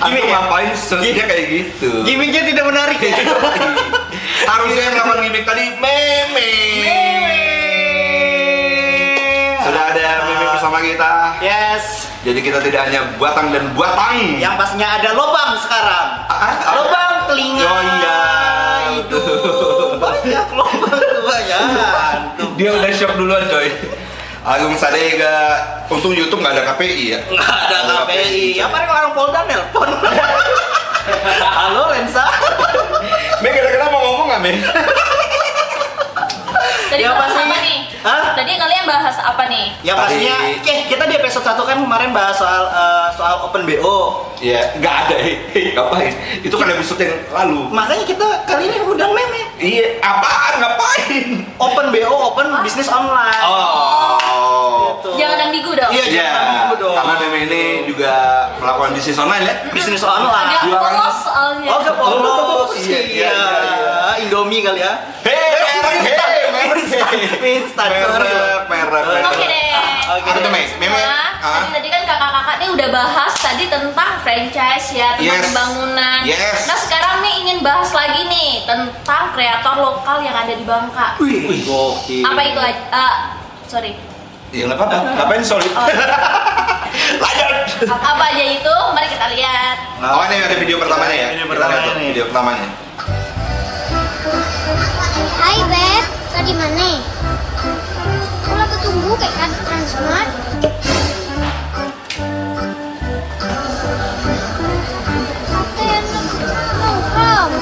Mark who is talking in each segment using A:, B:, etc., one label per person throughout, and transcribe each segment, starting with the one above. A: Gini
B: Aku
A: ya?
B: ngapain selanjutnya kayak gitu
A: Gimiknya tidak menarik ya.
B: Harusnya yang lawan gimmick tadi meme Sudah ada meme bersama kita
A: Yes,
B: Jadi kita tidak hanya batang dan buatang
A: yang pastinya ada lobang sekarang.
B: Ah, ah.
A: Lobang telinga.
B: Oh iya
A: Aduh, banyak lobang kebanyakan. Tuh.
B: Dia udah shock duluan coy Agung Sadega Untung Youtube nggak ada KPI ya
A: Nggak ada
B: Nggak ada
A: KPI.
B: KPI.
A: Apa nih orang Polda nelpon? Halo lensa.
B: Mei kira-kira mau ngomong nggak Mei?
C: Tadi
A: Ya,
C: bahas
A: pasti.
C: apa nih?
A: Hah?
C: Tadi kalian bahas apa nih?
A: Ya
B: Tadi-
A: pastinya, oke kita di episode 1 kan kemarin bahas soal eh, soal Open BO.
B: Iya nggak ada Ngapain? Itu kan episode yang lalu
A: Makanya kita kali ini undang meme.
B: Iya apaan ngapain?
A: Open BO, Open bisnis online.
B: Oh
A: Gitu.
C: Jangan ada minggu dong.
A: Iya.
B: Iya,
A: Jangan dong.
B: karena meme ini juga melakukan bisnis online ya.
A: Bisnis
C: Agak
A: online.
B: Jualan.
C: polos soalnya.
A: Oh, ke polos.
B: Iya, iya, iya.
A: Indomie kali ya.
B: Hei, hei, merek,
A: Instan, instan, sorry.
B: merek, merek, merek.
C: Oke deh.
A: Oke
B: Apa tuh,
A: deh.
B: Mei? Mei, Mei?
C: Nah,
B: Ah?
C: tadi, tadi kan kakak-kakak nih udah bahas tadi tentang franchise ya, tentang
B: Yes.
C: pembangunan.
B: Yes.
C: Nah sekarang nih ingin bahas lagi nih tentang kreator lokal yang ada di Bangka.
A: Wih, gokil.
C: Apa itu? aja? Eh, sorry.
B: Ya nggak apa-apa, ngapain solid?
C: Oh.
B: Lanjut.
C: Apa aja itu? Mari kita lihat.
A: Nah,
B: Oh, ini ada video pertamanya ya?
A: Video
B: Kita lihat
A: pertamanya
B: tuh,
A: nih.
B: Video pertamanya.
D: Hai Beb, lo di mana? Aku lagi tunggu kayak kan Transmart. Oke, nongkrong.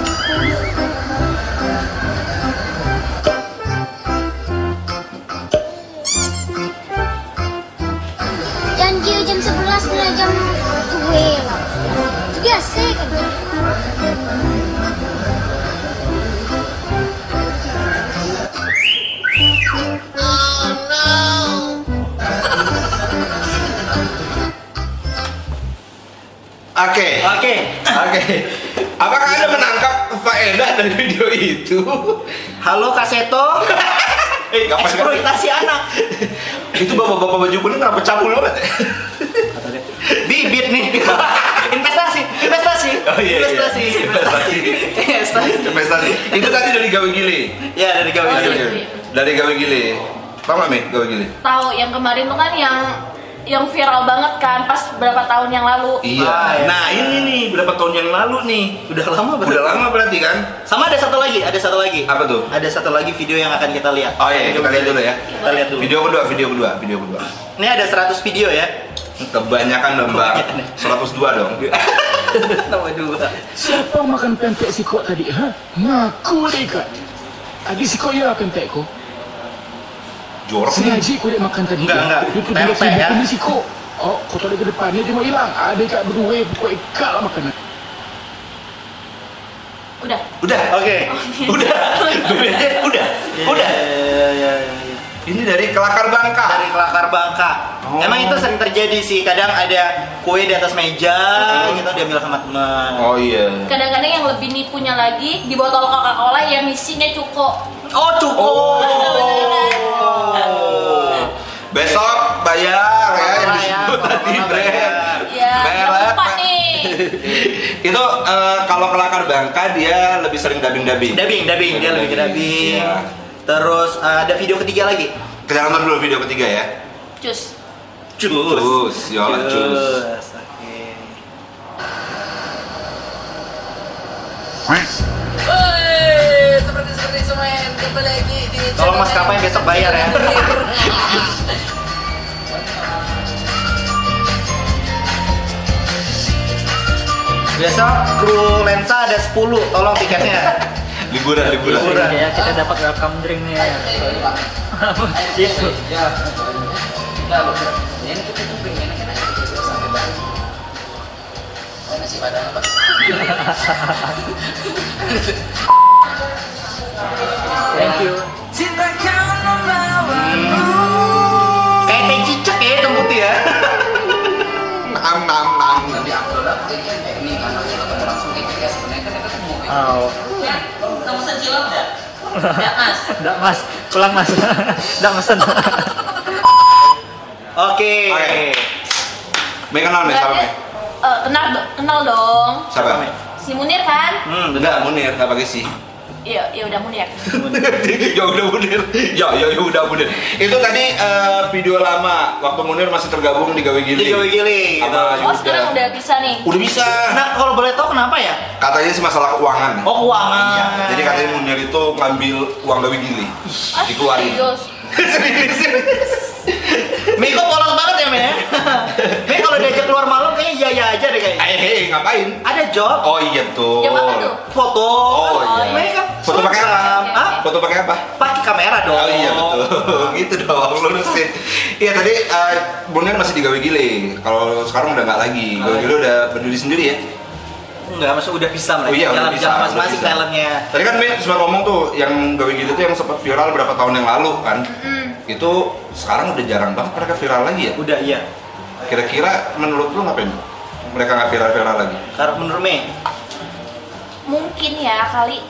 D: Janji jam 11 mulai jam 2. Itu biasa kan?
B: Oke.
A: Oke.
B: Oke. Apakah Anda menangkap faedah dari video itu?
A: Halo Kaseto,
B: Eh, ngapain?
A: eksploitasi anak.
B: Itu bapak-bapak baju kuning kenapa cabul banget ya?
A: Bibit nih. investasi, investasi.
B: Oh, iya, iya.
A: investasi, investasi. Investasi.
B: Investasi. Itu tadi dari Gawe Gili.
A: Ya dari gawe.
C: Oh,
B: Dari
C: iya.
B: Gawe Gili. Dari Gawe Gili. Tahu nggak Mi Gawe Gili?
C: Tahu yang kemarin tuh kan yang yang viral banget kan pas berapa tahun yang lalu.
B: Iya.
A: Ah, iya.
B: Nah ini nih berapa tahun yang lalu nih?
A: Udah lama berarti.
B: Udah lama berarti kan?
A: Sama ada satu lagi, ada satu lagi.
B: Apa tuh?
A: Ada satu lagi video yang akan kita lihat.
B: Oh iya kita lihat dulu ya.
A: Kita lihat dulu.
B: Video kedua, video kedua, video kedua.
A: Ini ada 100 video ya.
B: Kebanyakan dong bang. 102 dong.
A: Iya. Nomor dua.
E: Siapa makan pempek si kok tadi? Ha? Ngaku dekat. Adi si kok ya pempek kau.
B: Jorok nih.
E: Sengaja kau dia makan tadi.
A: Enggak,
E: ya?
A: enggak.
E: Dia pergi dari
A: Pempek,
E: sini,
A: ya?
E: Ini si kok. Oh, kau tarik ke depan dia cuma hilang. Ada kat berdua kau ikat lah makanan.
C: Udah.
B: Udah.
A: Oke.
B: Udah. Gue bilang aja, udah. Udah.
A: Ya, ya, ya, ya.
B: Ini dari Kelakar Bangka.
A: dari kelakar bangka.
B: Oh.
A: Emang itu sering terjadi sih. Kadang ada kue di atas meja gitu diambil sama teman.
B: Oh iya.
C: Kadang-kadang yang lebih nipunya lagi di botol Coca-Cola yang isinya cukup.
A: Oh, cukup.
B: Besok bayar ya yang
A: Bayar,
B: disebut
A: ya.
B: tadi
A: Bayar.
B: brand.
C: Ya, yang
B: Merek.
C: empat nih.
B: Itu eh, kalau kelakar bangka dia lebih sering dabing-dabing.
A: Dabing, dabing, dia lebih ke dabing.
B: Iya.
A: Terus eh, ada video ketiga lagi.
B: Kita nonton dulu video ketiga ya.
C: Cus.
A: Cus.
B: Cus, yolah, cus.
A: Oke.
F: Woi, seperti seperti semen kembali lagi di
A: Tolong maskapai besok bayar ya. Besok kru lensa ada 10, tolong tiketnya.
B: Liburan, liburan.
A: Liburan.
G: ya kita dapat welcome Gitu. drink nih ya. Itu. Thank you.
F: Cinta kau membawaku
A: Kayak teh cicak ya hitam putih ya.
B: Nang, nang, nang.
G: Oh. Nggak mas, pulang mas. Nggak mesen.
A: Oke.
B: Oke. Mekan lawan deh, sama
C: Berarti,
B: Mei.
C: eh, kenapa kenapa kenal dong.
B: Siapa?
C: Si Munir kan?
A: Hmm,
B: Enggak, Munir, enggak pakai si.
C: Iya, ya udah Munir.
B: ya udah Munir. Ya, ya, ya udah Munir. Itu tadi eh, video lama waktu Munir masih tergabung di Gawe Giling.
A: Di Gawe Giling,
B: Sama
A: gitu.
C: Oh
B: Yuda.
C: sekarang udah bisa nih.
B: Udah bisa.
A: Nah, kalau boleh tahu kenapa ya?
B: Katanya sih masalah keuangan.
A: Oh, keuangan.
B: Iya. Jadi katanya Munir itu ngambil uang Gawe Giling.
C: Ah,
B: Dikeluarin.
C: serius.
A: Miko polos banget ya, Me. Mei kalau diajak keluar malam kayaknya iya iya aja deh kayaknya.
B: Eh, hey, ngapain?
A: Ada job,
B: Oh iya tuh.
C: Jam apa tuh?
A: foto.
B: Oh, iya.
A: Mei kan
B: Foto pakai
A: selebgram.
B: apa?
C: Oke,
A: Hah?
C: oke.
B: Foto pakai apa?
A: Pakai kamera dong.
B: Oh iya betul, gitu dong lurusin. Iya tadi eh Bondan masih di Gawe Giling. Kalau sekarang udah nggak lagi. Gawe Giling udah berdiri sendiri ya.
A: Enggak, maksud udah bisa mereka.
B: Oh iya,
A: jalan
B: udah bisa,
A: jalan
B: udah
A: masing-masing
B: bisa.
A: talentnya.
B: Tadi kan Min sempat ngomong tuh yang Gawe Giling tuh yang sempat viral berapa tahun yang lalu kan.
C: Hmm,
B: Itu sekarang udah jarang banget mereka viral lagi ya.
A: Udah iya.
B: Kira-kira menurut lu ngapain? Mereka nggak viral-viral lagi.
A: Karena menurut Mei
C: Mungkin ya kali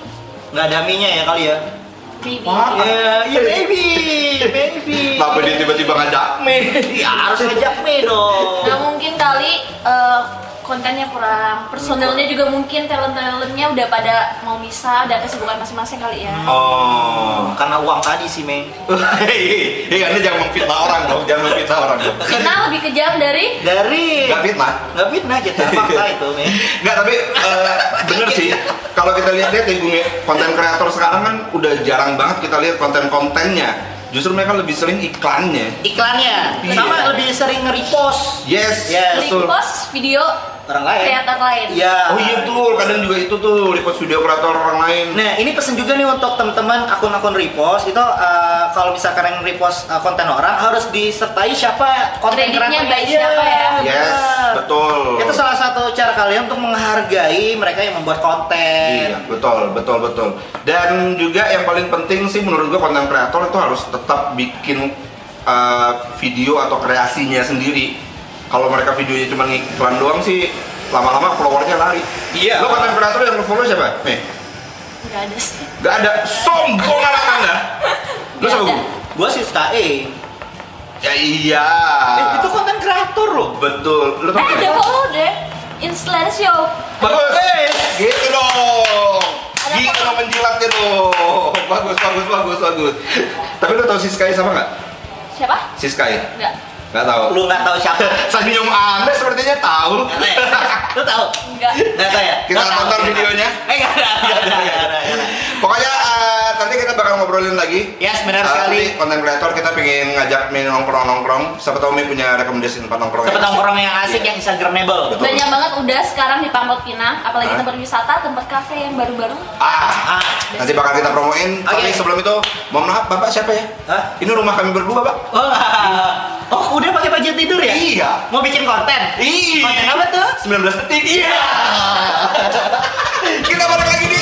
A: nggak ada minya ya kali ya.
C: Bibi.
B: Wah.
A: Iya, iya baby, baby.
B: Kenapa dia tiba-tiba ngajak?
A: Mei? Ya harus ngajak Mei dong.
C: Nah mungkin kali eh, kontennya kurang, personelnya juga mungkin talent-talentnya udah pada mau misah, udah kesibukan masing-masing kali ya.
B: Oh.
A: Karena uang tadi sih Mei.
B: Hei, hei, Anda jangan memfitnah orang dong, jangan memfitnah orang dong.
C: Fitnah lebih kejam dari
A: Dari
B: Nggak fitnah.
A: nggak fitnah kita fakta itu Mei.
B: Nggak, tapi eh, bener sih. Kalau kita lihat-lihat ya, Bung, ya, konten kreator sekarang kan udah jarang banget kita lihat konten-kontennya. Justru mereka lebih sering iklannya.
A: Iklannya
B: Iya.
A: sama lebih sering nge-repost
B: Yes,
A: Yes.
B: betul.
C: repost video
A: Eh, orang lain.
C: kreator lain.
A: Iya.
B: Oh iya tuh, kadang juga itu tuh repost video kreator orang lain.
A: Nah, ini pesan juga nih untuk teman-teman akun-akun repost itu eh, kalau misalkan yang repost eh, konten orang harus disertai siapa konten kreatornya.
C: Kreditnya by
A: Iya,
C: siapa ya?
B: Yes,
A: benar.
B: betul.
A: Itu salah satu cara kalian untuk menghargai mereka yang membuat konten.
B: Iya, betul, betul, betul. Dan juga yang paling penting sih menurut gua konten kreator itu harus tetap bikin uh, video atau kreasinya sendiri. Kalau mereka videonya cuma iklan doang sih lama-lama followernya lari.
A: Iya.
B: Lo konten kreator yang lo follow siapa? Nih,
C: Nggak ada sih.
B: gak ada sombong anak anda. Lo
C: Nggak
B: siapa
C: ada.
B: gua?
A: Gua sih suka eh.
B: Ya iya.
A: Eh, itu konten kreator loh.
B: betul. Lo tau
C: Eh, ada
B: nggak?
C: follow deh. Instagram show.
B: Bagus.
A: Eh.
B: Gitu dong.
C: Ada
B: Gitu
C: apa?
B: dong menjilatnya dong. Bagus, bagus, bagus, bagus. Tapi lo tau si Sky sama nggak?
C: Siapa?
B: Si Sky?
C: Nggak.
B: Nggak tahu.
A: Lu nggak tahu siapa.
B: Senyum Anda sepertinya tahu.
A: Nggak tahu ya? Lu tahu?
C: Nggak.
A: Nggak tahu ya?
B: Kita
A: Nggak tahu.
B: nonton videonya.
A: Eh, nggak ada. Nggak ada, nggak ada, nggak ada.
B: Pokoknya eh, nanti kita bakal ngobrolin lagi.
A: Yes, benar
B: Eh,
A: sekali.
B: nanti Konten kreator kita pengen ngajak main nongkrong-nongkrong. Siapa tahu Mi punya rekomendasi tempat nongkrong.
A: Tempat nongkrong yang asik ya?
B: Iya.
A: yang instagramable.
B: Betul.
C: Banyak banget udah sekarang di Pangkal Pinang, apalagi
B: Hah?
C: tempat wisata, tempat kafe yang baru-baru.
B: Ah,
A: Ah,
B: nanti bakal kita promoin.
A: Oke.
B: Tapi sebelum itu, mohon maaf Bapak siapa ya?
A: Hah?
B: Ini rumah kami berdua, Pak.
A: Oh, oh udah pakai baju tidur ya?
B: Iya.
A: Mau bikin konten?
B: Ih.
A: Konten apa tuh?
B: 19 detik. Iya. kita balik lagi di